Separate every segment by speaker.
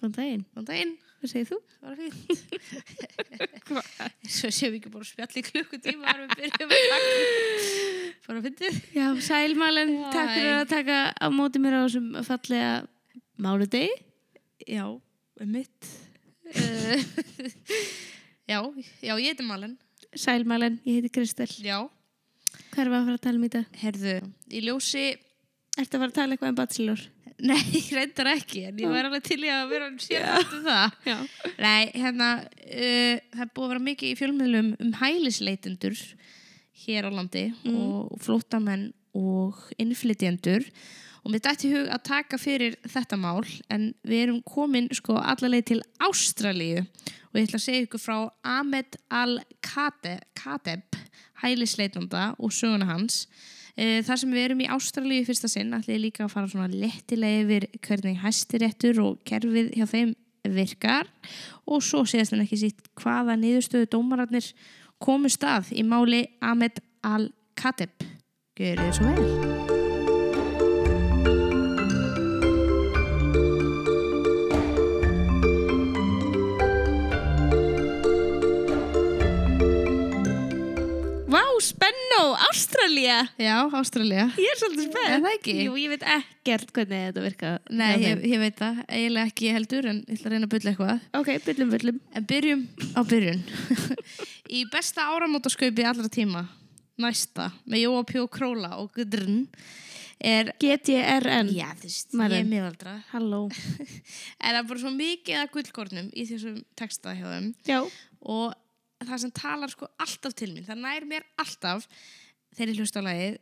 Speaker 1: Góðan daginn,
Speaker 2: Góðan daginn,
Speaker 1: hvað segir þú?
Speaker 2: það var fínt.
Speaker 1: Hvað?
Speaker 2: Svo séum við ekki bara að spjalla í klukkutíma þar við byrjum að taka. Bara að fyndið.
Speaker 1: Já, sælmælinn,
Speaker 2: Hæ.
Speaker 1: takk fyrir að taka á móti mér á þessum fallega máludegi.
Speaker 2: Já, um mitt. já, já, ég heiti Malen.
Speaker 1: Sælmælinn, ég heiti Kristel.
Speaker 2: Já.
Speaker 1: Hvað erum við að fara að tala um í dag?
Speaker 2: Herðu, í ljósi,
Speaker 1: Ertu að fara að tala eitthvað um bachelor?
Speaker 2: nei, reyndar ekki, en ég var alveg til í að vera hann sérfættu það.
Speaker 1: Já.
Speaker 2: Nei, hérna, uh, það er búið að vera mikið í fjölmiðlum um hælisleitendur hér á landi og flóttamenn og innflytjendur og mér dætti hug að taka fyrir þetta mál en við erum komin sko allarleið til Ástralíu og ég ætla að segja ykkur frá Ahmed Al-Kateb hælisleitanda og söguna hans Eh, Þar sem við erum í Ástralíu í fyrsta sinn ætla ég líka að fara svona lettilega yfir hvernig hæstiréttur og kerfið hjá þeim virkar og svo séðast en ekki sýtt hvaða niðurstöðu dómararnir komu stað í máli Ahmed Al-Kateb. Gjörið þið svo vel.
Speaker 1: Vá, spennó, Ástralía!
Speaker 2: Já, Ástralja.
Speaker 1: Ég er svolítið spennt.
Speaker 2: Er það ekki?
Speaker 1: Jú, ég veit ekkert hvernig þetta virkar.
Speaker 2: Nei,
Speaker 1: hjá
Speaker 2: ég,
Speaker 1: þeim.
Speaker 2: ég veit það, eiginlega ekki heldur en ég ætla að reyna að bylla eitthvað.
Speaker 1: Ok, byllum, byllum.
Speaker 2: En byrjum á byrjun. í besta áramótaskaupi allra tíma, næsta, með Jóa Pjó Króla og Gudrun, er...
Speaker 1: GTRN.
Speaker 2: Já, þú veist, ég
Speaker 1: Maður.
Speaker 2: er miðaldra.
Speaker 1: Halló.
Speaker 2: En það er bara svo mikið að gullkornum í þessum texta hjá þeim.
Speaker 1: Já.
Speaker 2: og það sem talar sko alltaf til mín það nær mér alltaf þegar ég hlusta á lagið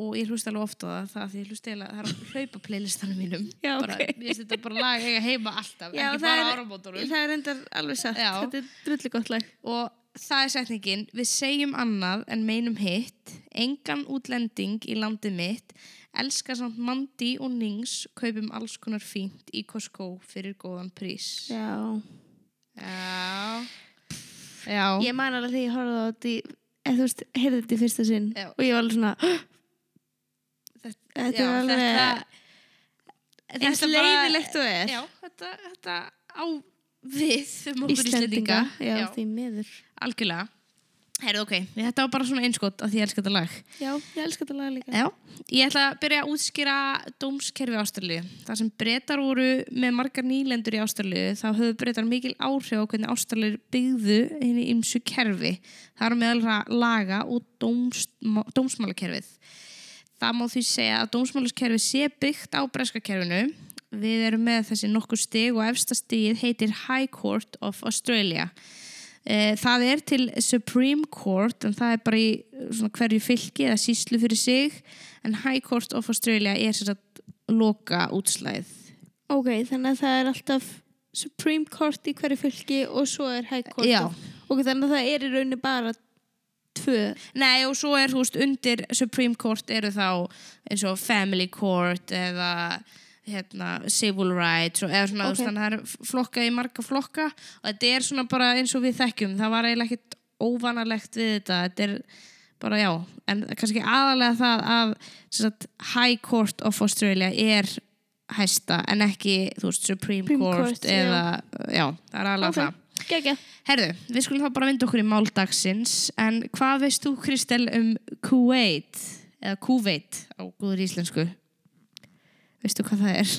Speaker 2: og ég hlusta alveg ofta það það, því ég hlusta eiginlega, það er að hlaupa playlistanum mínum
Speaker 1: Já,
Speaker 2: bara,
Speaker 1: ok.
Speaker 2: ég setja bara lag eiga heima alltaf
Speaker 1: Já,
Speaker 2: ekki
Speaker 1: það
Speaker 2: bara
Speaker 1: er-
Speaker 2: áramótunum
Speaker 1: Það er endar alveg satt.
Speaker 2: Já.
Speaker 1: Þetta er drullu gott lag.
Speaker 2: og það er setningin við segjum annað en meinum hitt engan útlending í landið mitt elska samt mandi og nings kaupum alls konar fínt í Costco fyrir góðan prís
Speaker 1: Já.
Speaker 2: já já
Speaker 1: Ég man alveg þegar ég horfði á þetta í, eða þú veist, heyrði þetta í fyrsta sinn
Speaker 2: Já.
Speaker 1: og ég var alveg svona
Speaker 2: Þetta-
Speaker 1: Þetta
Speaker 2: já,
Speaker 1: er alveg eins
Speaker 2: þetta bara-
Speaker 1: leiðilegt og er
Speaker 2: Já, þetta, þetta á við um okkur
Speaker 1: Íslendinga,
Speaker 2: Íslendinga.
Speaker 1: já, því miður
Speaker 2: algjörlega. Herðu, ok, þetta var bara svona einskott að því ég elska þetta lag.
Speaker 1: Já, ég elska þetta lag líka
Speaker 2: Já. Ég ætla að byrja að útskýra dómskerfi Ástralíu. Það sem breytar voru með margar nýlendur í Ástralíu þá höfðu breytar mikil áhrif á hvernig Ástralíu byggðu henni ymsu kerfi. Það eru meðal ra- laga og dóms, dómsmálakerfið. Það má því segja að dómsmáluskerfi sé byggt á breskakerfinu. Við erum með þessi nokkur stig og efsta stigið heitir High Court of Australia. Eh, Það er til Supreme Court en það er bara í eh, svona, hverju fylki eða síslu fyrir sig en High Court of Australia er sér að loka útslæð.
Speaker 1: Ok, þannig að það er alltaf Supreme Court í hverju fylki og svo er High Court
Speaker 2: Já.
Speaker 1: of- Ok, þannig að það er í rauninni bara tvö
Speaker 2: Nei og svo er þú veist undir Supreme Court eru þá eins og Family Court eða hérna, Civil Rights og, eða
Speaker 1: Ok.
Speaker 2: svona þú veist þannig að það er flokkað í marga flokka og þetta er svona bara eins og við þekkjum það var eiginlega ekkert óvanalegt við þetta þetta er bara já en kannski aðalega það að sem sagt, High Court of Australia er hæsta en ekki þú veist Supreme,
Speaker 1: Supreme
Speaker 2: Court,
Speaker 1: Court,
Speaker 2: eða já, það er aðalega það
Speaker 1: Ok, gegja
Speaker 2: Herðu, við skulum þá bara vinda okkur í máldagsins en hvað veist þú Kristel um Kuwait eða Kuwait á góður íslensku veistu hvað það er?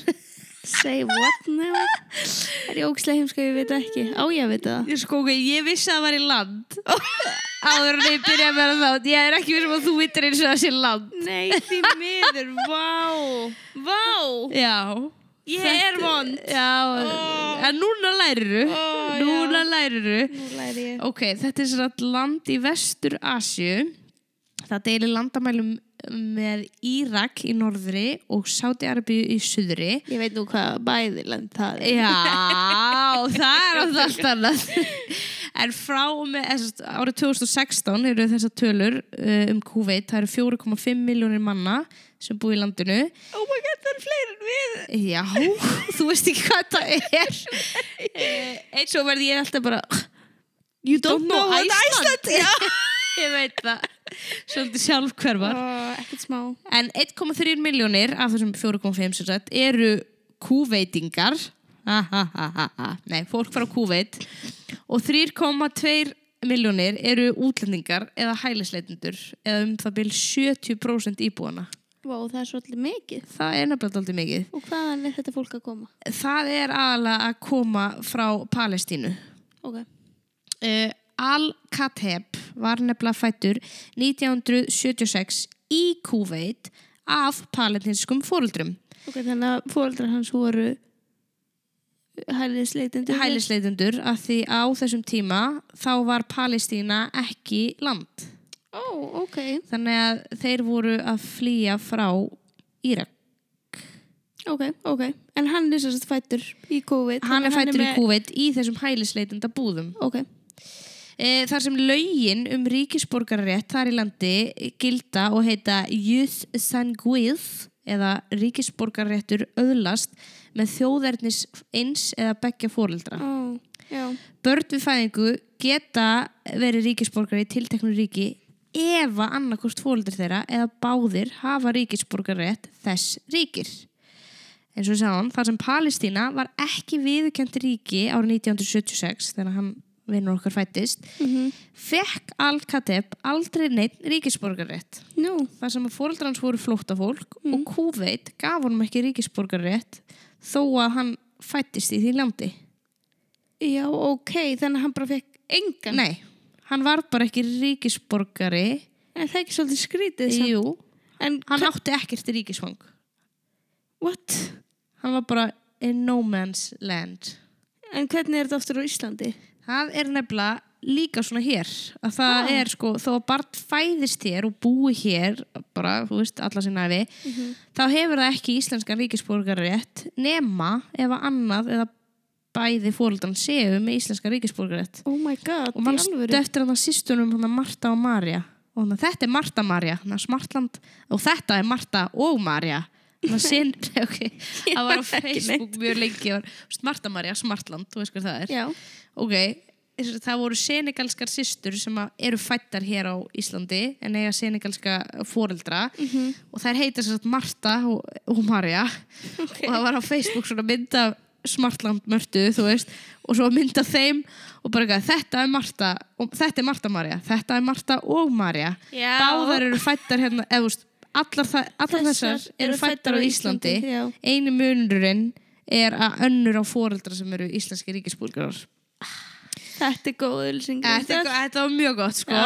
Speaker 1: Say what now? er ég ógislega heimska, ég veit það ekki Á, ég veit það
Speaker 2: Ég sko, ok, ég vissi að það var í land áður en ég byrjaði að vera þátt ég er ekki vissum að þú vittir eins og það sé land
Speaker 1: Nei, því miður, vá Vá
Speaker 2: Já
Speaker 1: Ég
Speaker 2: Þetta-
Speaker 1: er vond.
Speaker 2: Já, en núna læriru
Speaker 1: Ó,
Speaker 2: Núna læriru
Speaker 1: Nú læri ég
Speaker 2: Ok, þetta er sér að land í vestur Asju. Það deilir landamælum með Írak í norðri og Sáti-Arabíu í suðri.
Speaker 1: Ég veit nú hvað bæðiland það er.
Speaker 2: Já, það er á það allt annað. En frá og með eða sem sagt, árið 2016 eru þessar tölur uh, um Kuveit, það eru 4,5 miljónir manna sem búi í landinu.
Speaker 1: Oh my god, það er fleiri en við.
Speaker 2: Já, þú veist ekki hvað það er.
Speaker 1: Eh,
Speaker 2: Eins og verði ég alltaf bara, you don't, know, Iceland.
Speaker 1: Iceland.
Speaker 2: Ég veit það, svolítið sjálfhverfar.
Speaker 1: Já, ekkert smá.
Speaker 2: En 1,3 miljónir af þessum 4,5 sem sagt eru kúveitingar ha, ha, ha, ha, ha. Nei, fólk frá Kuveit og 3,2 miljónir eru útlendingar eða hælisleitendur eða um það byrjum 70% íbúana.
Speaker 1: Vá, það er svolítið mikið.
Speaker 2: Það er nefnilega aldrei mikið.
Speaker 1: Og hvaðan er þetta fólk að koma?
Speaker 2: Það er aðalega að koma frá Palestínu.
Speaker 1: Ok.
Speaker 2: Uh, Al-Kateb var nefnilega fættur 1976 í Kuveit af palestinskum fóruldrum.
Speaker 1: Ok, þannig að fóreldrar hans voru
Speaker 2: Mhm.
Speaker 1: hælisleitendur.
Speaker 2: hælisleitundur að því á þessum tíma þá var Palestína ekki land.
Speaker 1: Ó, ok.
Speaker 2: Þannig að þeir voru að flýja frá Írak.
Speaker 1: Ok, ok. En hann er sérst fættur í COVID.
Speaker 2: Hann er
Speaker 1: þannig
Speaker 2: fættur í
Speaker 1: með-
Speaker 2: Kúveit í þessum hælisleitunda búðum.
Speaker 1: Ok,
Speaker 2: E, þar sem lögin um ríkisborgarrétt þar í landi gilda og heita Youth Sanguith eða ríkisborgarréttur öðlast með þjóðernis eins eða beggja fóreldra.
Speaker 1: ó, já.
Speaker 2: börn við fæðingu geta verið ríkisborgar í tilteknu ríki ef að annarkost fólöldur þeirra eða báðir hafa ríkisborgarrétt þess ríkir. Eins og við sagðum, þar sem Palestína var ekki viðurkend ríki árið 1976, þegar hann vinnur okkar fættist,
Speaker 1: Mm -hmm.
Speaker 2: fekk Al-Kateb aldrei neitt ríkisborgarrétt.
Speaker 1: Nú,
Speaker 2: Þar sem að fólöldur hans voru flóttafólk
Speaker 1: Mm.
Speaker 2: og Kúveit gaf honum ekki ríkisborgarrétt þó að hann fættist í því landi.
Speaker 1: já, ok. Þannig að hann bara fekk engan.
Speaker 2: Nei, hann var bara ekki ríkisborgari
Speaker 1: En það er ekki svolítið skrítið samt.
Speaker 2: Jú,
Speaker 1: En
Speaker 2: hann
Speaker 1: hva-
Speaker 2: átti ekkert ríkisfang
Speaker 1: What?
Speaker 2: Hann var bara in no man's land
Speaker 1: En hvernig er þetta aftur á Íslandi?
Speaker 2: Það er nefnilega líka svona hér að það
Speaker 1: Ah.
Speaker 2: er sko, þó að barn fæðist hér og búi hér bara, þú veist, alla sinna við
Speaker 1: Mhm.
Speaker 2: þá hefur það ekki íslenskan ríkisborgarrétt nema ef að annað eða bæði fóröldan séu með íslenskan ríkisborgarrétt
Speaker 1: Oh my god,
Speaker 2: og
Speaker 1: í
Speaker 2: mann
Speaker 1: alvöru.
Speaker 2: stöftur hann að sýstunum hann að Marta og Marja og hann að þetta er Marta Marja hann að Smartland og þetta er Marta og Marja hann að sinn ok, það var á
Speaker 1: Ég man ekki
Speaker 2: Facebook mjög lengi var, þú veist, Marta Marja, Smartland, þú veist hvað það er
Speaker 1: Já,
Speaker 2: ok, þess- það voru senegalskar sýstur sem að eru fættar hér á Íslandi en eiga senegalska foreldra og þær heita sér sagt Marta og, og Marja og það var á Facebook svona mynd af Smartland mörtu, þú veist og svo mynd af þeim og bara eitthvað þetta er Marta, og, þetta er Marta Marja þetta er Marta og Marja
Speaker 1: Já.
Speaker 2: báðar eru fættar hérna eða, þú veist, allar, þa- allar þessar, eru fættar á Íslandi,
Speaker 1: já.
Speaker 2: einu munurinn er að önnur á foreldra sem eru íslenski ríkisbúlgarar
Speaker 1: Þetta er góð ölsingur.
Speaker 2: Þetta, er- þetta var mjög gott sko
Speaker 1: Já.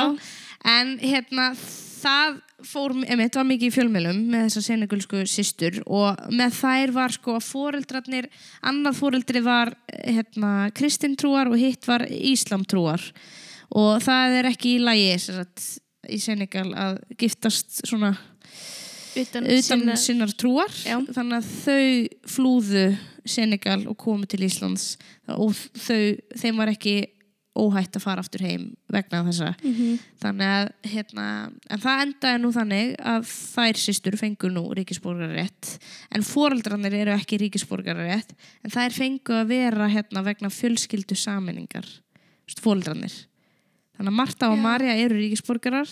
Speaker 2: En hérna það fór, emitt var mikið í fjölmjölum með þessa senegulsku systur og með þær var sko að foreldrarnir annað foreldri var eh, hérna, kristintrúar og hitt var íslamtrúar og það er ekki í lagi sem sagt, í Senegal að giftast svona
Speaker 1: utan,
Speaker 2: utan
Speaker 1: sinna-
Speaker 2: sinnar trúar
Speaker 1: Já.
Speaker 2: þannig að þau flúðu Senegal og komu til Íslands og þau, þeim var ekki óhætt að fara aftur heim vegna þessa
Speaker 1: Mhm.
Speaker 2: þannig að hérna, en það endaði nú þannig að þær systur fengu nú ríkisborgarrétt en foreldrarnir eru ekki ríkisborgarrétt en þær fengu að vera hérna vegna fjölskyldu saminningar foreldrarnir þannig að Marta og
Speaker 1: Já.
Speaker 2: Marja eru ríkisborgarar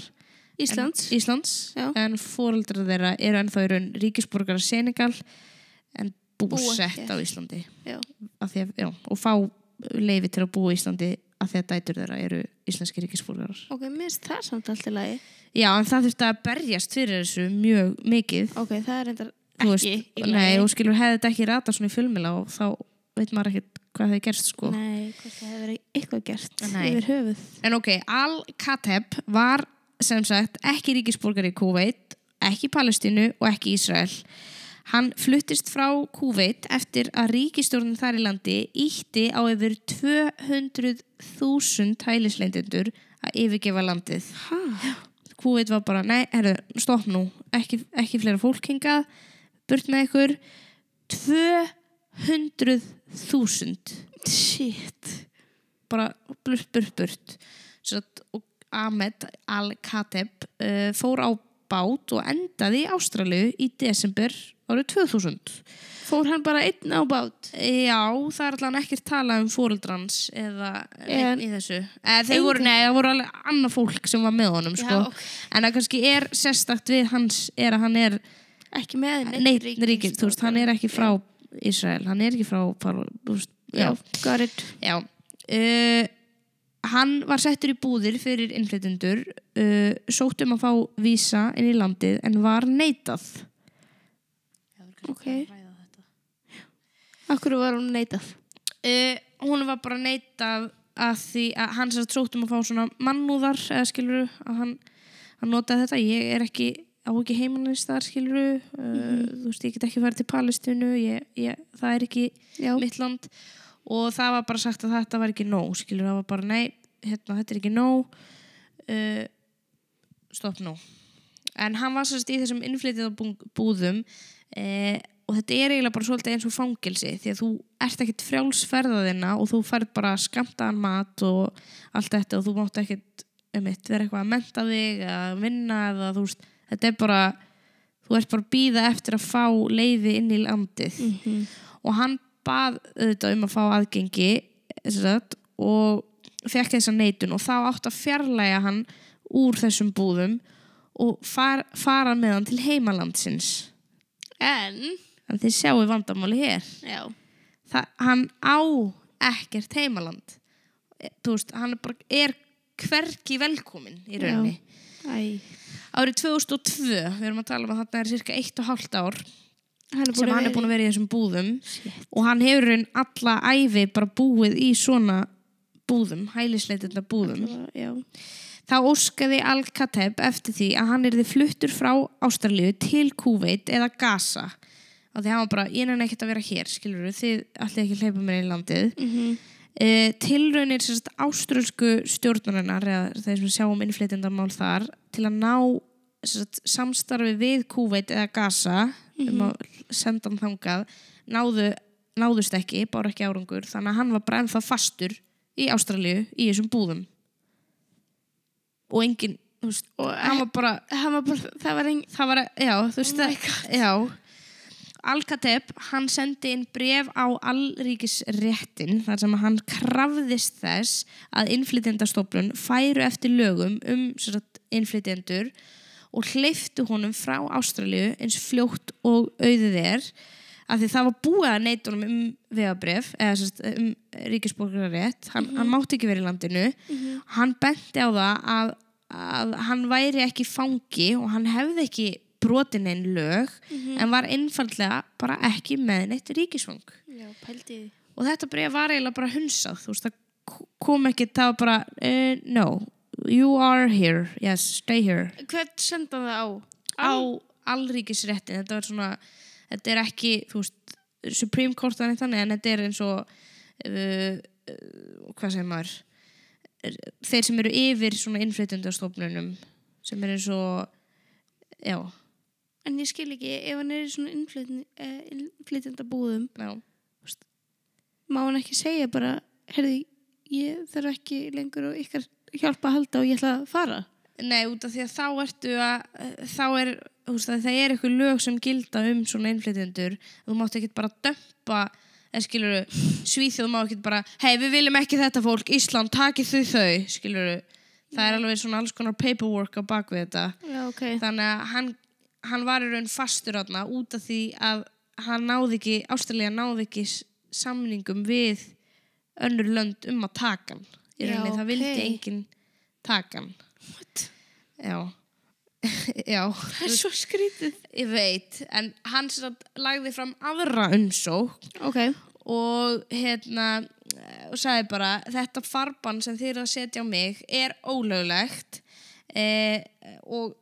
Speaker 1: Íslands.
Speaker 2: en, Íslands
Speaker 1: Já.
Speaker 2: en foreldrar þeirra eru ennþá í raun ríkisborgarar Senegal en búsett
Speaker 1: hér.
Speaker 2: á Íslandi
Speaker 1: Já.
Speaker 2: Af því að, já, og fá leifi til að búa í Íslandi að því að dætur þeirra eru íslenski ríkisborgarar
Speaker 1: Ok, mér finnst það samt allt í lagi.
Speaker 2: Já, en það þurfti að berjast fyrir þessu mjög mikið.
Speaker 1: Ok, það er endar
Speaker 2: Þú
Speaker 1: ekki í lagi.
Speaker 2: nei, og skilur, hefði þetta ekki rata svona í fjölmila og þá veit maður ekkert hvað það gerst, sko.
Speaker 1: Nei, hvort það hefur verið eitthvað gert
Speaker 2: Nei.
Speaker 1: yfir höfuð.
Speaker 2: En ok, Al-Kateb var sem sagt ekki ríkisborgar í Kúveit, ekki í Palestínu og ekki í Ísrael. Hann fluttist frá Kúveit eftir að ríkistjórnin þar í landi ítti á yfir 200.000 hælisleitendur að yfirgefa landið.
Speaker 1: Hæ?
Speaker 2: COVID var bara, nei, herru, stopp nú ekki, ekki fleira fólk hingað burt með ykkur 200.000
Speaker 1: Shit.
Speaker 2: bara burt, burt, burt Svo að, og Ahmed Al-Kateb uh, fór á bát og endaði í Ástralju í desember árið 2000
Speaker 1: Fór hann bara einn á bát?
Speaker 2: Já, það er allan ekkert talað um fóreldrans eða
Speaker 1: En-
Speaker 2: en, í þessu. Eða, þeir voru, nei, það voru alveg annað fólk sem var með honum,
Speaker 1: Já,
Speaker 2: sko.
Speaker 1: ok.
Speaker 2: En það kannski er sérstakt við hans, er að hann er
Speaker 1: Ekki með sko.
Speaker 2: neitt ríkis, þú veist, hann er ekki frá Ísrael, hann er ekki frá Pal- þú veist, já,
Speaker 1: got it.
Speaker 2: Já uh, Hann var settur í búðir fyrir innflytundur uh, sótt um að fá vísa inn í landið en var neitað
Speaker 1: Ok. Akkur var hún neitað.
Speaker 2: uh, Hún var bara neitað að því að hann sér sótt um að fá svona mannúðar eða skiluru að hann, hann notaði þetta ég er ekki á ekki heimanist þar skiluru uh, þú veist ég get ekki farið til Palestínu ég, ég, það er ekki
Speaker 1: Já.
Speaker 2: mitt land og það var bara sagt að þetta var ekki nóg skilur það var bara nei, hérna þetta er ekki nóg uh, stopp nú en hann var sérst í þessum innflytið á búðum uh, og þetta er eiginlega bara svolítið eins og fangelsi því að þú ert ekkit frjálsferðaðina og þú færð bara skamtaðan mat og allt þetta og þú mátt ekkit um eitt vera eitthvað að menta þig að vinna eða þú veist, þetta er bara þú ert bara að býða eftir að fá leiði inn í landið og hann bað auðvitað um að fá aðgengi sem sagt, og fekk þessa neitun og þá átt að fjarlæga hann úr þessum búðum og far, fara með hann til heimalandsins
Speaker 1: En,
Speaker 2: en þið sjáu vandamáli hér
Speaker 1: já.
Speaker 2: Þa, hann á ekkert heimaland E, þú veist, hann er, bara, er hvergi velkomin í rauninni
Speaker 1: Æ.
Speaker 2: árið 2002, við erum að tala um að þarna er cirka eitt og hálft ár
Speaker 1: Hann
Speaker 2: sem hann er búin að vera í þessum búðum og hann hefur hann alla æfi bara búið í svona búðum, hælisleitenda búðum
Speaker 1: Já.
Speaker 2: þá óskaði Al-Kateb eftir því að hann erði fluttur frá Ástralíu til Kúveit eða Gaza og því hann var bara, ég nenni ekkert að vera hér skilur við, þið allir ekki að hleypa mér inn í landið
Speaker 1: Mm
Speaker 2: e, tilraunir sem sagt, áströlsku stjórnarinnar eða þeir sem sjáum innflytjandamál þar til að ná sem sagt, samstarfi við Kúveit eða Gaza um að senda hann þangað náðu, náðust ekki, bár ekki árangur þannig að hann var bara ennþá fastur í Ástralíu í þessum búðum og engin þú veist, og hann var bara
Speaker 1: Hann var bara, það var engin...
Speaker 2: það var, já, þú veist það, já Al-Kateb, hann sendi inn bref á allríkisréttin þar sem hann krafðist þess að innflytjendastofnun færu eftir lögum um sem sagt, innflytjendur og hleyftu honum frá Ástralíu eins fljótt og auðið er af því það var búið að neyta honum um vegabref, eða sem sagt, um ríkisborgararétt, hann, hann mátti ekki verið í landinu hann benti á það að, að hann væri ekki fangi og hann hefði ekki brotin einn lög en var einfaldlega bara ekki með neitt ríkisfang
Speaker 1: Já, pældi því.
Speaker 2: og þetta bregð var eiginlega bara hunsað þú veist, það k- kom ekki, það var bara uh, no, you are here yes, stay here
Speaker 1: Hvert senda það á?
Speaker 2: á allríkisréttin þetta var svona, þetta er ekki þú veist, Supreme Court þannig þannig en þetta er eins og uh, uh, hvað segir maður þeir sem eru yfir svona innflytjandastofnunum sem eru eins og já,
Speaker 1: En ég skil ekki, ef hann er í svona innflytjandi, uh, innflytjanda búðum,
Speaker 2: já
Speaker 1: má hann ekki segja bara, herði, ég þarf ekki lengur og ykkar hjálpa að halda og ég ætla að fara.
Speaker 2: Nei, út af því að þá ertu að eh, þá er, þú veist að það er eitthvað lög sem gilda um svona innflytjendur þú mátt ekki bara dömpa eða skiluru, svíþjóð má ekki bara hei, við viljum ekki þetta fólk, Ísland takið þau þau, skiluru það er alveg svona alls konar paperwork á bakvið þetta
Speaker 1: Já, ok.
Speaker 2: þannig að hann, hann var í raun fastur átna út af því að hann náði ekki, Ástralía náði ekki s- samningum við önnur lönd um að taka hann í
Speaker 1: Já,
Speaker 2: rauninni, það
Speaker 1: ok.
Speaker 2: vildi enginn taka hann
Speaker 1: What?
Speaker 2: Já Já,
Speaker 1: Það er svo skrítið.
Speaker 2: ég veit en hann sem sagt lagði fram aðra umsók
Speaker 1: Ok.
Speaker 2: og hérna eh, og sagði bara þetta farban sem þið eru að setja á mig er ólöglegt eh, og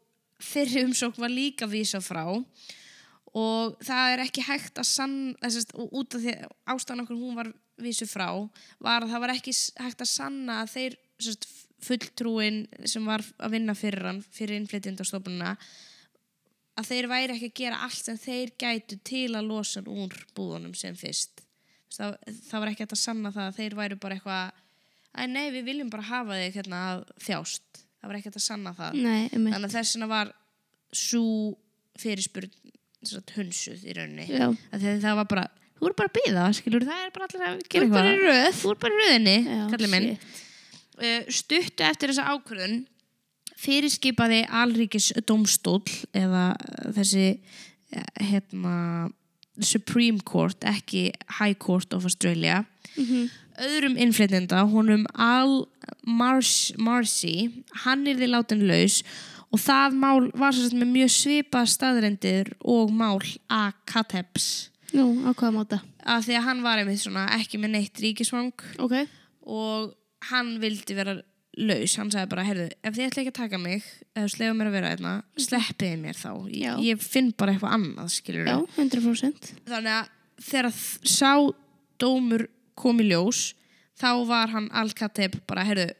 Speaker 2: fyrri umsók var líka vísa frá og það er ekki hægt að sann þessast, út af því ástæðan okkur hún var vísu frá var að það var ekki s- hægt að sanna að þeir sérst, fulltrúin sem var að vinna fyrir hann fyrir innflytjandastofnuna að þeir væri ekki að gera allt sem þeir gætu til að losa hann úr búðunum sem fyrst Þú veist, það, það var ekki hægt að sanna það að þeir væru bara eitthvað að nei við viljum bara hafa þig hérna að þjást það var ekki hægt að sanna það
Speaker 1: Nei, um
Speaker 2: þannig að þess vegna var svo fyrirspurn sem sagt, hunsuð í rauninni
Speaker 1: Já.
Speaker 2: Af því að það var bara þú eru bara að býða skilur það er bara allir að
Speaker 1: Þú
Speaker 2: gera
Speaker 1: ert bara í
Speaker 2: röð þú eru bara í röðinni
Speaker 1: Já,
Speaker 2: kallið minn uh, stuttu eftir þessa ákvörðun fyrirskipaði alríkis eða þessi eh, hérna Supreme Court, ekki High Court of Australia
Speaker 1: Mm
Speaker 2: öðrum innflytjenda, honum Al Mars, Marcy hann er því látin laus og það mál var svo sem með mjög svipa staðrendir og mál A. Kateps
Speaker 1: Nú, á hvaða máta?
Speaker 2: af því að hann var einmitt svona ekki með neitt ríkisvang
Speaker 1: Ok.
Speaker 2: og hann vildi vera laus, hann sagði bara, heyrðu, ef þið ætla ekki að taka mig eða slefa mér að vera hérna, sleppiði mér þá
Speaker 1: Mhm. Já.
Speaker 2: ég, ég finn bara eitthvað annað, skilur
Speaker 1: Já, 100%.
Speaker 2: þannig að þegar þ- sá dómur kom í ljós þá var hann Al-Kateb bara, heyrðu,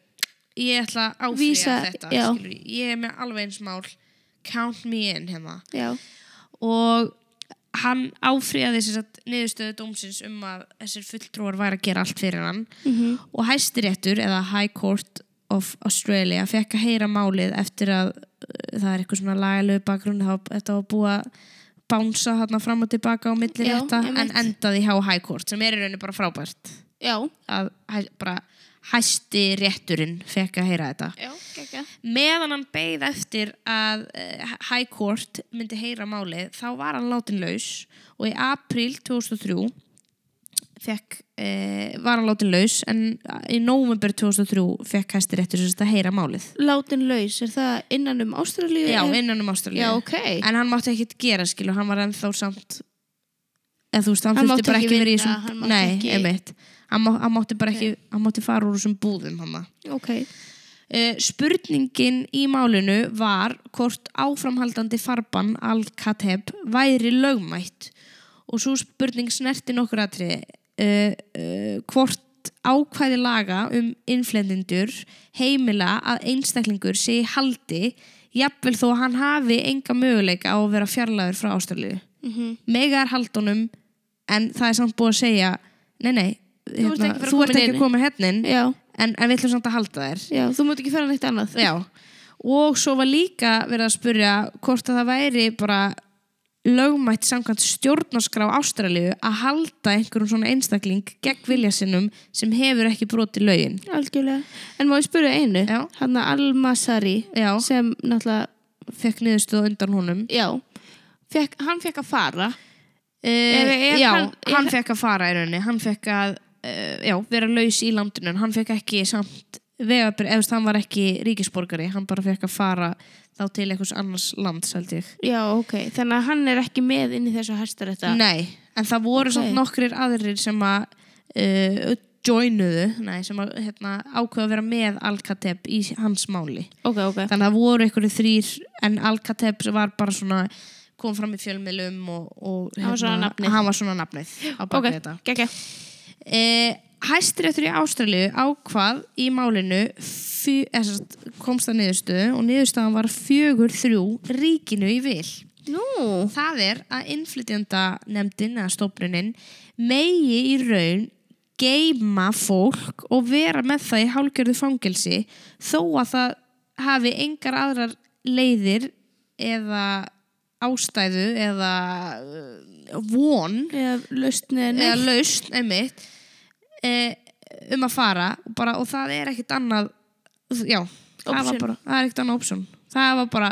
Speaker 2: ég ætla að áfrýja
Speaker 1: Vísa,
Speaker 2: þetta,
Speaker 1: já.
Speaker 2: skilur, ég er með alveg eins mál count me in hérna
Speaker 1: Já.
Speaker 2: og hann áfrýjaði þess að niðurstöðu dómsins um að þessir fulltrúar væri að gera allt fyrir hann
Speaker 1: Mm
Speaker 2: og hæstiréttur eða High Court of Australia fekk að heyra málið eftir að uh, það er eitthvað svona lagalegu bakgrunn þá þetta var búið að bánsa hérna fram og tilbaka á milli
Speaker 1: Já,
Speaker 2: rétta en
Speaker 1: einmitt.
Speaker 2: endaði hjá High Court sem er í rauninu bara frábært
Speaker 1: Já.
Speaker 2: að hæ- bara hæstirétturinn fekk að heyra þetta
Speaker 1: Já, ekki.
Speaker 2: meðan hann beið eftir að eh, High Court myndi heyra málið þá var hann látin laus og í april 2003 fekk, eh, var hann látin laus en eh, í nómumber 2003 fekk hæstir eftir þess að heyra málið
Speaker 1: Látin laus, er það innan um Ástralíu?
Speaker 2: já,
Speaker 1: Er-
Speaker 2: innan um Ástralíu
Speaker 1: Já, ok.
Speaker 2: en hann mátti ekkit gera skilu, hann var ennþá samt eða þú veist, hann,
Speaker 1: Hann
Speaker 2: hann
Speaker 1: mátti
Speaker 2: bara
Speaker 1: ekki
Speaker 2: ekki verið í
Speaker 1: vinna, hann
Speaker 2: þessum
Speaker 1: mátti
Speaker 2: nei,
Speaker 1: ekki-
Speaker 2: einmitt hann, má, hann mátti bara ekki, hann mátti fara úr þessum búðum hann
Speaker 1: Ok.
Speaker 2: Eh, spurningin í málinu var hvort áframhaldandi farban Al-Kateb væri lögmætt og svo spurning snerti nokkur atriði uh, uh, hvort ákvæði laga um innflendindur heimila að einstaklingur sé í haldi jafnvel þó að hann hafi enga möguleika á að vera fjarlægur frá ástæðlegu
Speaker 1: Mm
Speaker 2: megar haldunum en það er samt búið að segja nei nei,
Speaker 1: ert ekki að fara að
Speaker 2: þú
Speaker 1: koma
Speaker 2: ert ekki
Speaker 1: inn.
Speaker 2: að koma hérna inn,
Speaker 1: Já,
Speaker 2: en, en við ætlum samt að halda þér
Speaker 1: já, þú mátt ekki fara neitt annað.
Speaker 2: Já, og svo var líka verið að spurja hvort að það væri bara lögmætt samkvæmt stjórnarskrá Ástralíu að halda einhverjum svona einstakling gegn vilja sinnum sem hefur ekki brotið lögin.
Speaker 1: Algjörlega. En má ég spyrja einu?
Speaker 2: Já.
Speaker 1: Hanna Al-Masari
Speaker 2: Já,
Speaker 1: sem náttúrulega,
Speaker 2: fekk niðurstöð undan honum.
Speaker 1: já, fekk, hann fekk að fara.
Speaker 2: Uh,
Speaker 1: Eh, Er- er
Speaker 2: já,
Speaker 1: hann-
Speaker 2: hann,
Speaker 1: er hann-
Speaker 2: fekk að fara í rauninni, hann fekk að uh, já, vera laus í landinu en hann fekk ekki samt vegabrið, ef þú veist, hann var ekki ríkisborgari, hann bara fekk að fara þá til einhvers annars lands, held ég.
Speaker 1: Já, ok. Þannig að hann er ekki með inn í þessu hæstarétta.
Speaker 2: Nei, en það voru
Speaker 1: Ok.
Speaker 2: okay. nokkrir aðrir sem að uh, joinuðu, nei, sem að hérna, ákveða að vera með Al-Kateb í hans máli.
Speaker 1: Ok, ok.
Speaker 2: Þannig að það voru einhverju þrýr en Al-Kateb var bara svona kom fram í fjölmiðlum og, og hérna,
Speaker 1: Hann var svona nafnið.
Speaker 2: hann var svona nafnið á bakið
Speaker 1: Ok,
Speaker 2: þetta.
Speaker 1: geggja.
Speaker 2: Eh, Hæstiréttur í Ástralíu ákvað í málinu fjö, eðsast, komst að niðurstöðu og niðurstaðan var fjögur þrjú ríkinu í vil.
Speaker 1: Nú.
Speaker 2: Það er að innflytjandanemndin eða stofnunin megi í raun geima fólk og vera með það í hálgjörðu fangelsi þó að það hafi engar aðrar leiðir eða ástæðu eða uh, von
Speaker 1: Eða lausn eða
Speaker 2: eða
Speaker 1: neitt.
Speaker 2: lausn einmitt e, um að fara og, bara, og það er ekkit annað já, það, var
Speaker 1: Option.
Speaker 2: bara, það er ekkit annað option það var bara,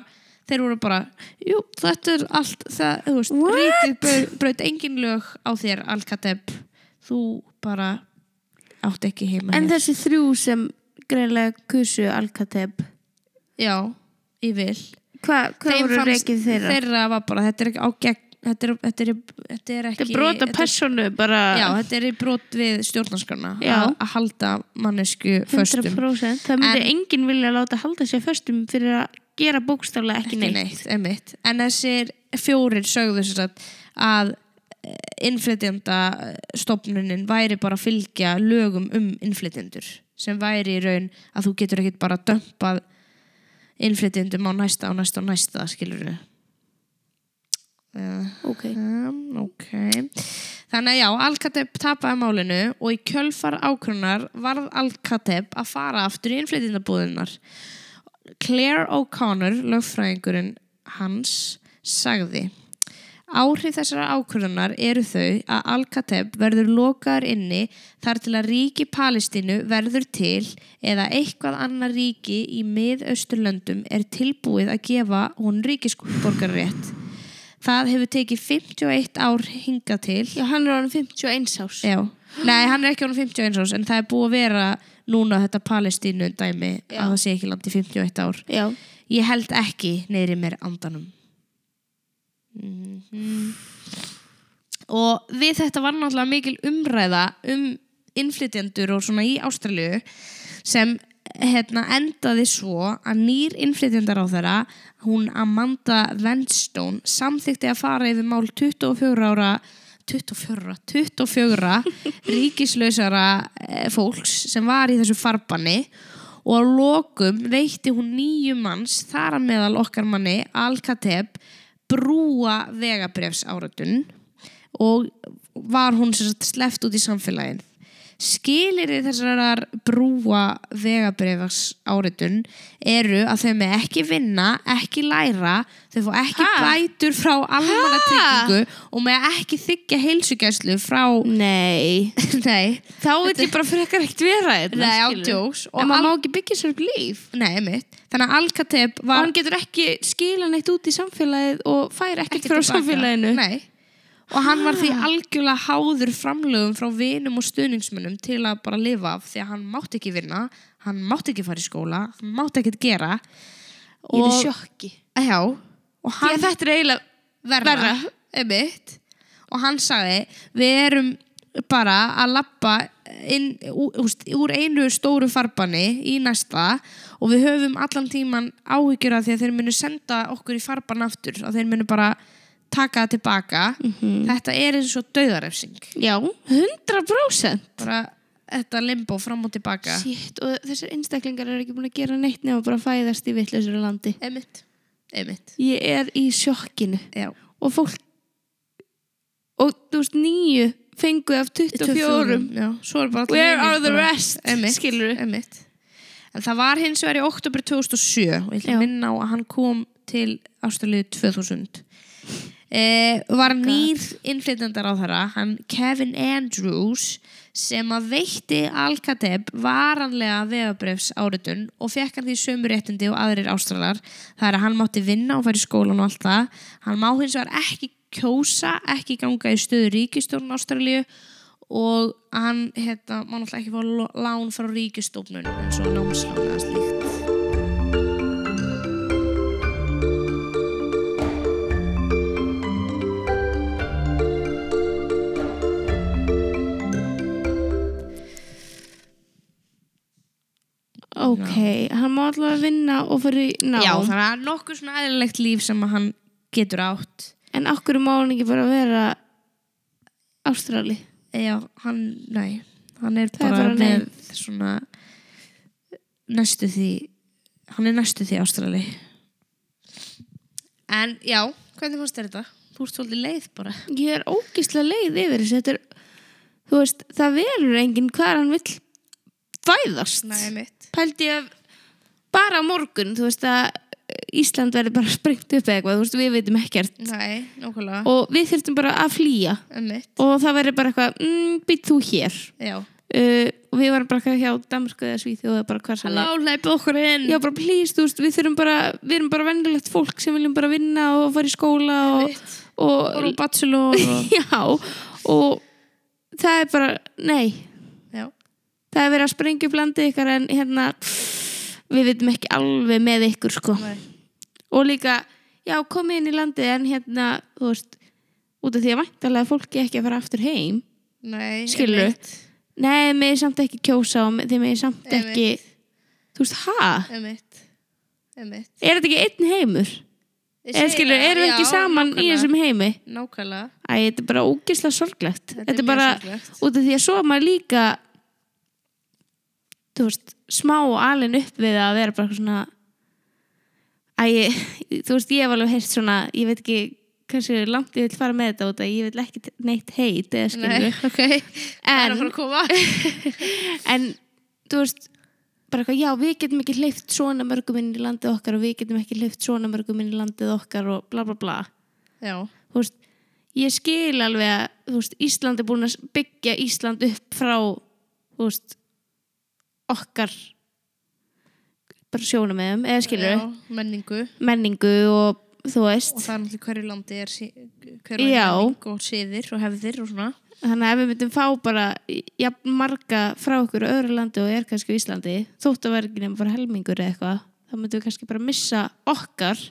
Speaker 2: þeir voru bara jú, þetta er allt það, þú veist,
Speaker 1: What?
Speaker 2: ríkið brau- braut engin lög á þér Al-Kateb þú bara átt ekki heima
Speaker 1: En
Speaker 2: hér.
Speaker 1: þessi þrjú sem greinlega kusu Al-Kateb,
Speaker 2: já, ég vil
Speaker 1: hvað hva
Speaker 2: Þeim
Speaker 1: voru
Speaker 2: fannst-
Speaker 1: reikið þeirra?
Speaker 2: þeirra var bara, þetta er ekki á gegn þetta er, þetta er, þetta er ekki
Speaker 1: Þetta er brota
Speaker 2: þetta er-
Speaker 1: personu bara
Speaker 2: Já, þetta er í brot við stjórnarskarna
Speaker 1: Já.
Speaker 2: að að halda mannesku föstum
Speaker 1: 100%. Það myndi
Speaker 2: En-
Speaker 1: enginn vilja láta halda sér föstum fyrir að gera bókstaflega ekki,
Speaker 2: ekki
Speaker 1: neitt.
Speaker 2: neitt, einmitt en þessir fjórir sögðu sér að, að innflytjanda stopnunin væri bara að fylgja lögum um innflytjendur sem væri í raun að þú getur ekkit bara dömpað innflytjendum á næsta og næsta og næsta skilur við
Speaker 1: Ok.
Speaker 2: Um, ok. Þannig að já, Al-Kateb tapaði málinu og í kjölfar ákrunar varð Al-Kateb að fara aftur í innflytjendabúðinnar. Claire O'Connor, lögfræðingurinn hans, sagði Áhrif þessara ákvörðunar eru þau að Al-Kateb verður lokaður inni þar til að ríki Palestínu verður til eða eitthvað annar ríki í miðausturlöndum er tilbúið að gefa hún ríkisborgarrétt. það hefur tekið 51 ár hingað til
Speaker 1: Já, hann er ánum 51 árs.
Speaker 2: Já. Nei, hann er ekki ánum 51 árs en það er búið að vera núna þetta Palestínu dæmi
Speaker 1: Já.
Speaker 2: að það sé ekki land í 51 ár.
Speaker 1: Já.
Speaker 2: Ég held ekki neyri mér andanum. Mm Og við þetta var náttúrulega mikil umræða um innflytjendur og svona í Ástralju sem hérna, endaði svo að nýr innflytjendar á þeirra, hún Amanda Venstone, samþykti að fara yfir mál 24 ára 24, 24 ríkislausara eh, fólks sem var í þessu farbanni og á lokum veitti hún nýju manns þar að meðal okkar manni Al-Kateb brúa vegabrefs áratun og var hún sem sagt sleppt út í samfélagin skilir þessarar brúa vegabrefs áritun eru að þau með ekki vinna, ekki læra þau fá ekki
Speaker 1: Ha?
Speaker 2: bætur frá almanna tryggingu og með ekki þykja heilsugæslu frá
Speaker 1: Nei.
Speaker 2: nei,
Speaker 1: Þá vil ég bara frekar ekkert vera þetta.
Speaker 2: nei
Speaker 1: skilurðu.
Speaker 2: ándjós
Speaker 1: En maður má ekki byggja sér upp líf.
Speaker 2: Nei, mitt. Þannig að Alcateb
Speaker 1: Og
Speaker 2: var
Speaker 1: hann getur ekki skila neitt út í samfélagið og fær ekkert
Speaker 2: ekki
Speaker 1: frá
Speaker 2: tilbaka.
Speaker 1: samfélaginu.
Speaker 2: Nei. Og hann var því algjörlega háður framlögum frá vinum og stuðningsmunum til að bara lifa af því að hann mátti ekki vinna, hann mátti ekki fara í skóla, hann mátti ekkert gera.
Speaker 1: Ég er í
Speaker 2: Og-
Speaker 1: sjokki.
Speaker 2: Já. Og
Speaker 1: Því
Speaker 2: hann
Speaker 1: að þetta er eiginlega...
Speaker 2: verra,
Speaker 1: Verra.
Speaker 2: einmitt og hann sagði við erum bara að lappa inn, úr, úst, úr einu stóru farbanni í næsta og við höfum allan tíman áhyggjur af því að þeir munu senda okkur í farbann aftur og þeir munu bara taka það tilbaka
Speaker 1: Mhm.
Speaker 2: þetta er eins og dauðarefsing
Speaker 1: Já, 100%.
Speaker 2: bara þetta limbo fram og tilbaka
Speaker 1: Shit, og þessar einstaklingar eru ekki búin að gera neitt nema bara að fæðast í vittlausur landi.
Speaker 2: einmitt, einmitt.
Speaker 1: Ég er í sjokkinu.
Speaker 2: Já.
Speaker 1: Og fólk... Og þú veist, nýju fenguð af 24.
Speaker 2: já, svo er bara allir
Speaker 1: Where
Speaker 2: hinir
Speaker 1: are the
Speaker 2: bara-
Speaker 1: rest?
Speaker 2: Einmitt.
Speaker 1: Skilur
Speaker 2: Einmitt. En það var hins vegar í oktober 2007 og ég ætla
Speaker 1: Já.
Speaker 2: að minna á að hann kom til ástæðlið 2000. Eh, var nýr innflytjandar á þeirra, hann Kevin Andrews sem að veitti Al-Kateb varanlega vegabrefs áritun og fekk hann því sömu réttindi og aðrir ástralar það er að hann mátti vinna og færi skólan og allt það hann má hins vegar ekki kjósa ekki ganga í stöðu ríkistjórn Ástralíu og hann hérna, má náttúrulega ekki fá lo- lán frá ríkistofnun eins og námslán eða slíkt
Speaker 1: Ok, hann má allavega vinna og fyrir nám.
Speaker 2: Já, þannig að nokkuð svona eðlilegt líf sem að hann getur átt
Speaker 1: En okkur má hann ekki bara vera Ástrali?
Speaker 2: Já, hann, nei hann er
Speaker 1: Það er
Speaker 2: bara,
Speaker 1: bara nei.
Speaker 2: með svona næstu því hann er næstu því ástrali En já, hvernig fannst þér þetta? Þú ert svolítið leið bara
Speaker 1: Ég er ógislega leið yfir þessu. Þetta er, þú veist, það verður enginn hvar hann vill fæðast.
Speaker 2: mitt
Speaker 1: Pældi ég að bara á morgun, þú veist, að Ísland verður bara sprengt upp eða eitthvað, þú veist, við veitum ekkert.
Speaker 2: Nei, nákvæmlega
Speaker 1: Og við þurftum bara að flýja.
Speaker 2: Einmitt.
Speaker 1: Og það verður bara eitthvað, mm, býtt þú hér.
Speaker 2: Já
Speaker 1: Uh, og við varum bara eitthvað hjá Damersku eða Svíþjóð eða bara hvar sem
Speaker 2: Halló, leipa okkur inn
Speaker 1: Já, bara please, þú veist, við þurfum bara, við erum bara vennilegt fólk sem viljum bara vinna og fara í skóla og,
Speaker 2: Einmitt.
Speaker 1: og,
Speaker 2: Fór á bachelor og...
Speaker 1: já, og það er bara, nei,
Speaker 2: Já,
Speaker 1: það er verið að sprengja upp landið ykkar en hérna, við veitum ekki alveg með ykkur, sko.
Speaker 2: nei
Speaker 1: Og líka, já, komið inn í landið en hérna, þú veist, út af því að væntalega fólki ekki að fara aftur heim.
Speaker 2: Nei,
Speaker 1: Skilurðu?
Speaker 2: einmitt,
Speaker 1: Nei, þið megið samt ekki kjósa og þið megið samt
Speaker 2: Einmitt.
Speaker 1: ekki, þú veist, ha?
Speaker 2: einmitt, einmitt.
Speaker 1: Er þetta ekki einn heimur?
Speaker 2: Ég
Speaker 1: Eða
Speaker 2: segi
Speaker 1: skilur,
Speaker 2: það,
Speaker 1: erum við
Speaker 2: já,
Speaker 1: ekki saman í
Speaker 2: nákvæmlega,
Speaker 1: þessum heimi?
Speaker 2: Nákvæmlega
Speaker 1: Æ, þetta er bara ógislega sorglegt. Þetta, er
Speaker 2: mjög
Speaker 1: bara,
Speaker 2: sorglegt.
Speaker 1: út af því að svo er maður líka, þú veist, smá alin upp við að vera bara eitthvað svona, æ, ég- þú veist, ég hef alveg heyrt svona, ég veit ekki hversu langt ég vil fara með þetta út að ég vil ekki t- neitt heit, eða skilur.
Speaker 2: Nei, ok Það er að fara að koma
Speaker 1: En, þú veist, bara eitthvað, já, við getum ekki hleyft svona mörgum inn í landið okkar og við getum ekki hleyft svona mörgum inn í landið okkar og bla bla bla.
Speaker 2: Já,
Speaker 1: þú veist, ég skil alveg að þú veist, Ísland er búin að byggja Ísland upp frá þú veist, okkar bara sjónum með þeim, eða skilur
Speaker 2: já, menningu
Speaker 1: menningu og þú
Speaker 2: og
Speaker 1: veist
Speaker 2: það er náttúrulega hverju landi er sí- hverju
Speaker 1: Já.
Speaker 2: menning og siðir og hefðir og svona
Speaker 1: þannig að ef við myndum fá bara jafn marga frá okkur öðru landi og er kannski á Íslandi þótt að vera ekki nefn bara helmingur eða eitthvað þá myndum við kannski bara missa okkar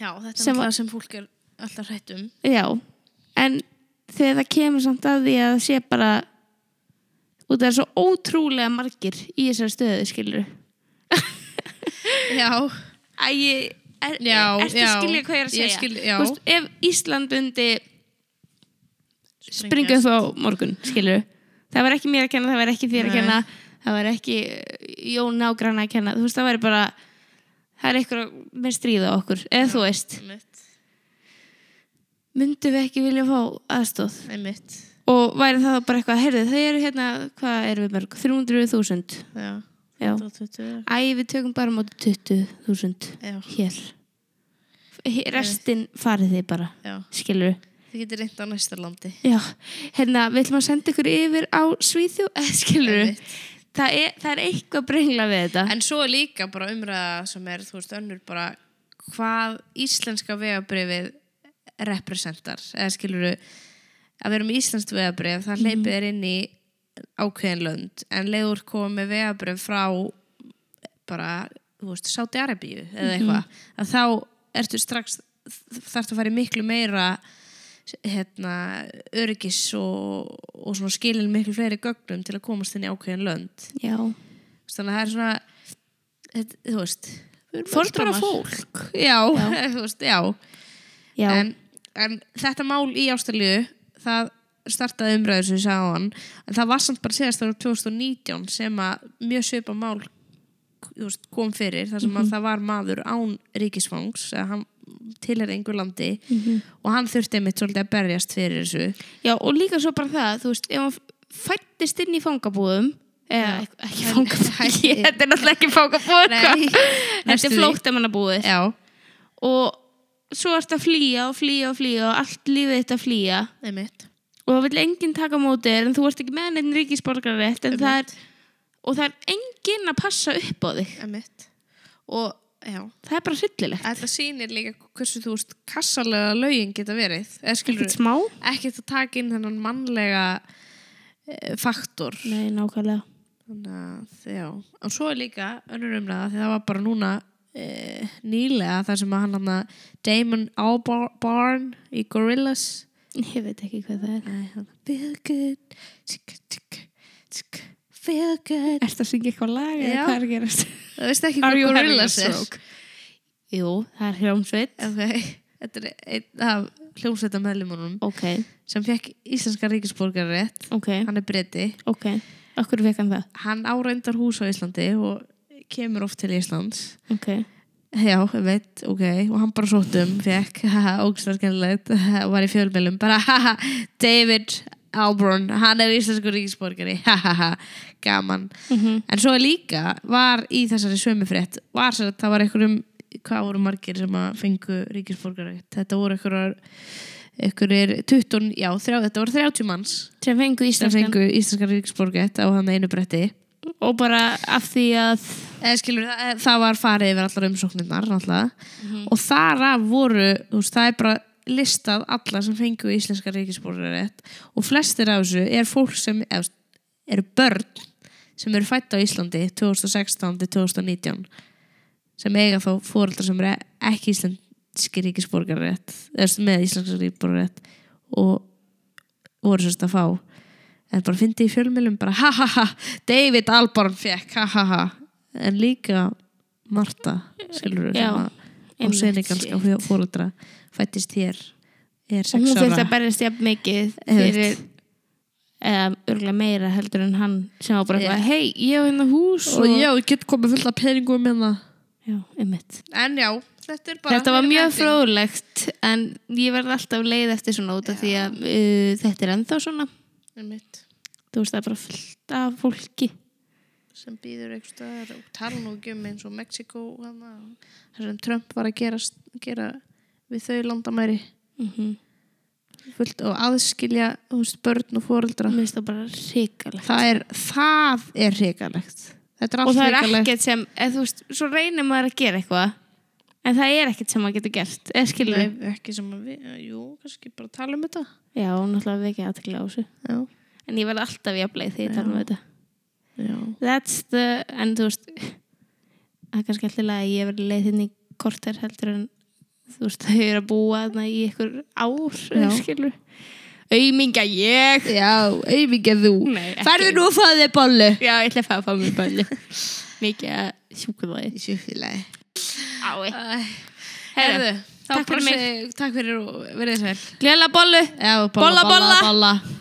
Speaker 2: Já, þetta er
Speaker 1: Sem
Speaker 2: náttúrulega sem fólk er alltaf hrætt um
Speaker 1: já, en þegar það kemur samt að því að það sé bara út af það er svo ótrúlega margir í þessari stöðu skilur
Speaker 2: Já,
Speaker 1: Æ, ég- er,
Speaker 2: Já,
Speaker 1: ertu að
Speaker 2: já.
Speaker 1: skilja hvað ég er að
Speaker 2: Ég
Speaker 1: segja
Speaker 2: skil- já.
Speaker 1: Þú veist, ef Ísland undi springa upp á morgun, skilur það var ekki mér að kenna, það var ekki þér að
Speaker 2: Nei.
Speaker 1: kenna það var ekki eh, Jón nágranna að kenna þú veist, það væri bara það er eitthvað með stríða okkur eða þú veist,
Speaker 2: Einmitt,
Speaker 1: myndum við ekki vilja fá aðstóð
Speaker 2: einmitt
Speaker 1: og væri það bara eitthvað, heyrðu, þau eru hérna hvað erum við mörg, 300.000
Speaker 2: Já,
Speaker 1: já,
Speaker 2: 120
Speaker 1: æ, við tökum bara á móti 20.000
Speaker 2: Já,
Speaker 1: hér He- restin farið þið bara,
Speaker 2: já,
Speaker 1: skilur
Speaker 2: þið getur reynd á næsta landi
Speaker 1: já, hérna, við ætlum að senda ykkur yfir á Svíþjó, eða skilur
Speaker 2: Einmitt.
Speaker 1: það er, það er eitthvað brengla við þetta
Speaker 2: En svo er líka bara umræða sem er, þú veist, önnur bara hvað íslenska vegabrifið representar, eða skilur að vera með íslenskt vegabrif það hleypið er inn í ákveðin lönd, en leiður komið með vegabrif frá bara, þú veist, Sáti Arabíu eða eitthvað, að þá ertu strax, þarftu að fara í miklu meira hérna, öryggis og, og svona skilin miklu fleiri gögnum til að komast inn í ákveðin lönd
Speaker 1: já,
Speaker 2: þannig að það er svona þetta, þú veist við erum
Speaker 1: Fordómar.
Speaker 2: bara fólk já, þú veist, já.
Speaker 1: já,
Speaker 2: En, en þetta mál í Ástralíu það startaði umræður sem ég sagði á hann en það var samt bara séðast ára 2019 sem að mjög svipa mál þú veist, kom fyrir þar sem
Speaker 1: Mhm.
Speaker 2: að það var maður án ríkisfangs eða hann tilherði einhver landi
Speaker 1: Mhm.
Speaker 2: og hann þurfti einmitt svolítið að berjast fyrir þessu
Speaker 1: já og líka svo bara það þú veist, ef hann fættist inn í fangabúðum eða
Speaker 2: Já.
Speaker 1: ek- ekki fangabúðum
Speaker 2: Hæ- hæ-
Speaker 1: þetta er náttúrulega ekki fangabúð
Speaker 2: Nei,
Speaker 1: hvað.
Speaker 2: næstu
Speaker 1: þetta er
Speaker 2: því.
Speaker 1: flóttamannabúðir
Speaker 2: já,
Speaker 1: og svo ertu að flýja og flýja og flýja og allt lífið þetta að flýja
Speaker 2: einmitt
Speaker 1: og það vil enginn taka á móti þér en þú ert ekki með neitt ríkisborgarrétt en það er, og það er enginn að passa upp á þig
Speaker 2: einmitt og já
Speaker 1: það er bara hryllilegt
Speaker 2: Þetta sýnir líka hversu þú veist kassalega lögin geta verið eða skilur
Speaker 1: ekkert smá
Speaker 2: ekkert að taka inn þennan mannlega eh, faktor
Speaker 1: nei, nákvæmlega
Speaker 2: þannig að já og svo er líka önnur umræða því það var bara núna e, nýlega þar sem að hann hann að Damon Albarn í Gorillaz
Speaker 1: ég veit ekki hvað það er
Speaker 2: Æ, hann, feel good tsk, tsk, tsk, feel good
Speaker 1: Ertu að syngja eitthvað lag
Speaker 2: eða hvað er
Speaker 1: að gerast?
Speaker 2: það veist ekki
Speaker 1: Are
Speaker 2: hvað
Speaker 1: you having a
Speaker 2: Gorillaz er
Speaker 1: stroke? Jú, það er hljómsveit.
Speaker 2: ok þetta er einn af hljómsveita meðlumunum
Speaker 1: Ok,
Speaker 2: sem fekk íslenska ríkisborgarrétt
Speaker 1: ok,
Speaker 2: hann er breyti
Speaker 1: ok. Okkur fekk hann það.
Speaker 2: hann áreindar hús á Íslandi og kemur oft til Íslands
Speaker 1: Ok,
Speaker 2: já, ég veit, ok og hann bara sóttum, fekk ógstarskennilegt og var í fjölmjölum bara haha, David Alborn hann er íslensku ríkisborgari haha, gaman Mm. en svo líka var í þessari sömufrétt var sér að það var einhverjum hvað voru margir sem að fengu ríkisborgari þetta voru einhverjar einhverjir 20, já, þrjá, þetta voru 30 manns
Speaker 1: sem fengu
Speaker 2: sem
Speaker 1: íslenskan
Speaker 2: fengu íslenskar ríkisborgett á hann einu bretti
Speaker 1: og bara af því að
Speaker 2: eða skilur Eh, það, það var farið yfir allar umsóknirnar náttúrulega. og þar af voru þú veist, það er bara listað alla sem fengu íslenskar ríkisborgett og flestir af þessu er fólk sem eða, þú veist, eru börn sem eru fætt á Íslandi 2016 til 2019 sem eiga þá fóreldra sem eru ekki íslenski ríkisborgarrétt eða sem með íslenski ríkisborgarrétt og voru sérst að fá en bara fyndi í fjölmjölum bara ha ha ha, David Alborn fekk ha ha ha, en líka Marta, skilur
Speaker 1: Já,
Speaker 2: við og
Speaker 1: einmitt,
Speaker 2: senegalska fóreldra fættist hér er
Speaker 1: og
Speaker 2: sex
Speaker 1: hún þurfti
Speaker 2: ára
Speaker 1: að berjast jafn mikið
Speaker 2: Einmitt.
Speaker 1: fyrir eða örgulega meira heldur en hann sem var bara
Speaker 2: Já.
Speaker 1: eitthvað, hei, ég á hérna hús
Speaker 2: og já, ég get komið fullt af peningum hérna
Speaker 1: já einmitt.
Speaker 2: en já, þetta er bara
Speaker 1: Þetta var
Speaker 2: meira
Speaker 1: mjög
Speaker 2: branding.
Speaker 1: fróðlegt en ég verð alltaf leið eftir svona út af því að uh, þetta er ennþá svona
Speaker 2: Einmitt.
Speaker 1: þú veist það er bara fullt af fólki
Speaker 2: sem býður einhver staðar og tala nú ekki um eins og Mexiko þar sem Trump var að gera, gera við þau landamæri
Speaker 1: mm -hmm.
Speaker 2: fullt og aðskilja þú veist, börn og fóreldra
Speaker 1: mér finnst það bara ríkalegt
Speaker 2: það er, það er hrikalegt þetta er
Speaker 1: og
Speaker 2: allt
Speaker 1: það er
Speaker 2: hrikalegt
Speaker 1: ekkert sem eð, veist, svo reynir maður að gera eitthvað en en það er ekkert sem maður getur gert eða skilur
Speaker 2: Nei, ekki sem að við, eh, jú, kannski bara tala um þetta
Speaker 1: já, náttúrulega við ekki aðtekla á þessu
Speaker 2: já,
Speaker 1: en ég verð alltaf jafnleið þegar ég tala um
Speaker 2: Já.
Speaker 1: þetta
Speaker 2: já,
Speaker 1: that's the, en þú veist það er kannski alltaf að ég verði leið þinn í korter heldur en þú veist, þau eru að búa þarna í ykkur ár, eða
Speaker 2: Já.
Speaker 1: skilur auðminga ég
Speaker 2: já auðvitað þú
Speaker 1: Nei, Hm, ekki.
Speaker 2: farðu nú að fá þig bollu
Speaker 1: já, ég ætla að fá að fá mér bæli mikið að sjúkulæði
Speaker 2: í sjöfélagi
Speaker 1: ái,
Speaker 2: herðu,
Speaker 1: Herðu,
Speaker 2: þá
Speaker 1: takk fyrir
Speaker 2: brosi takk fyrir og verið þess vel
Speaker 1: gljöla bollu
Speaker 2: já,
Speaker 1: Bolla, bolla.
Speaker 2: bolla.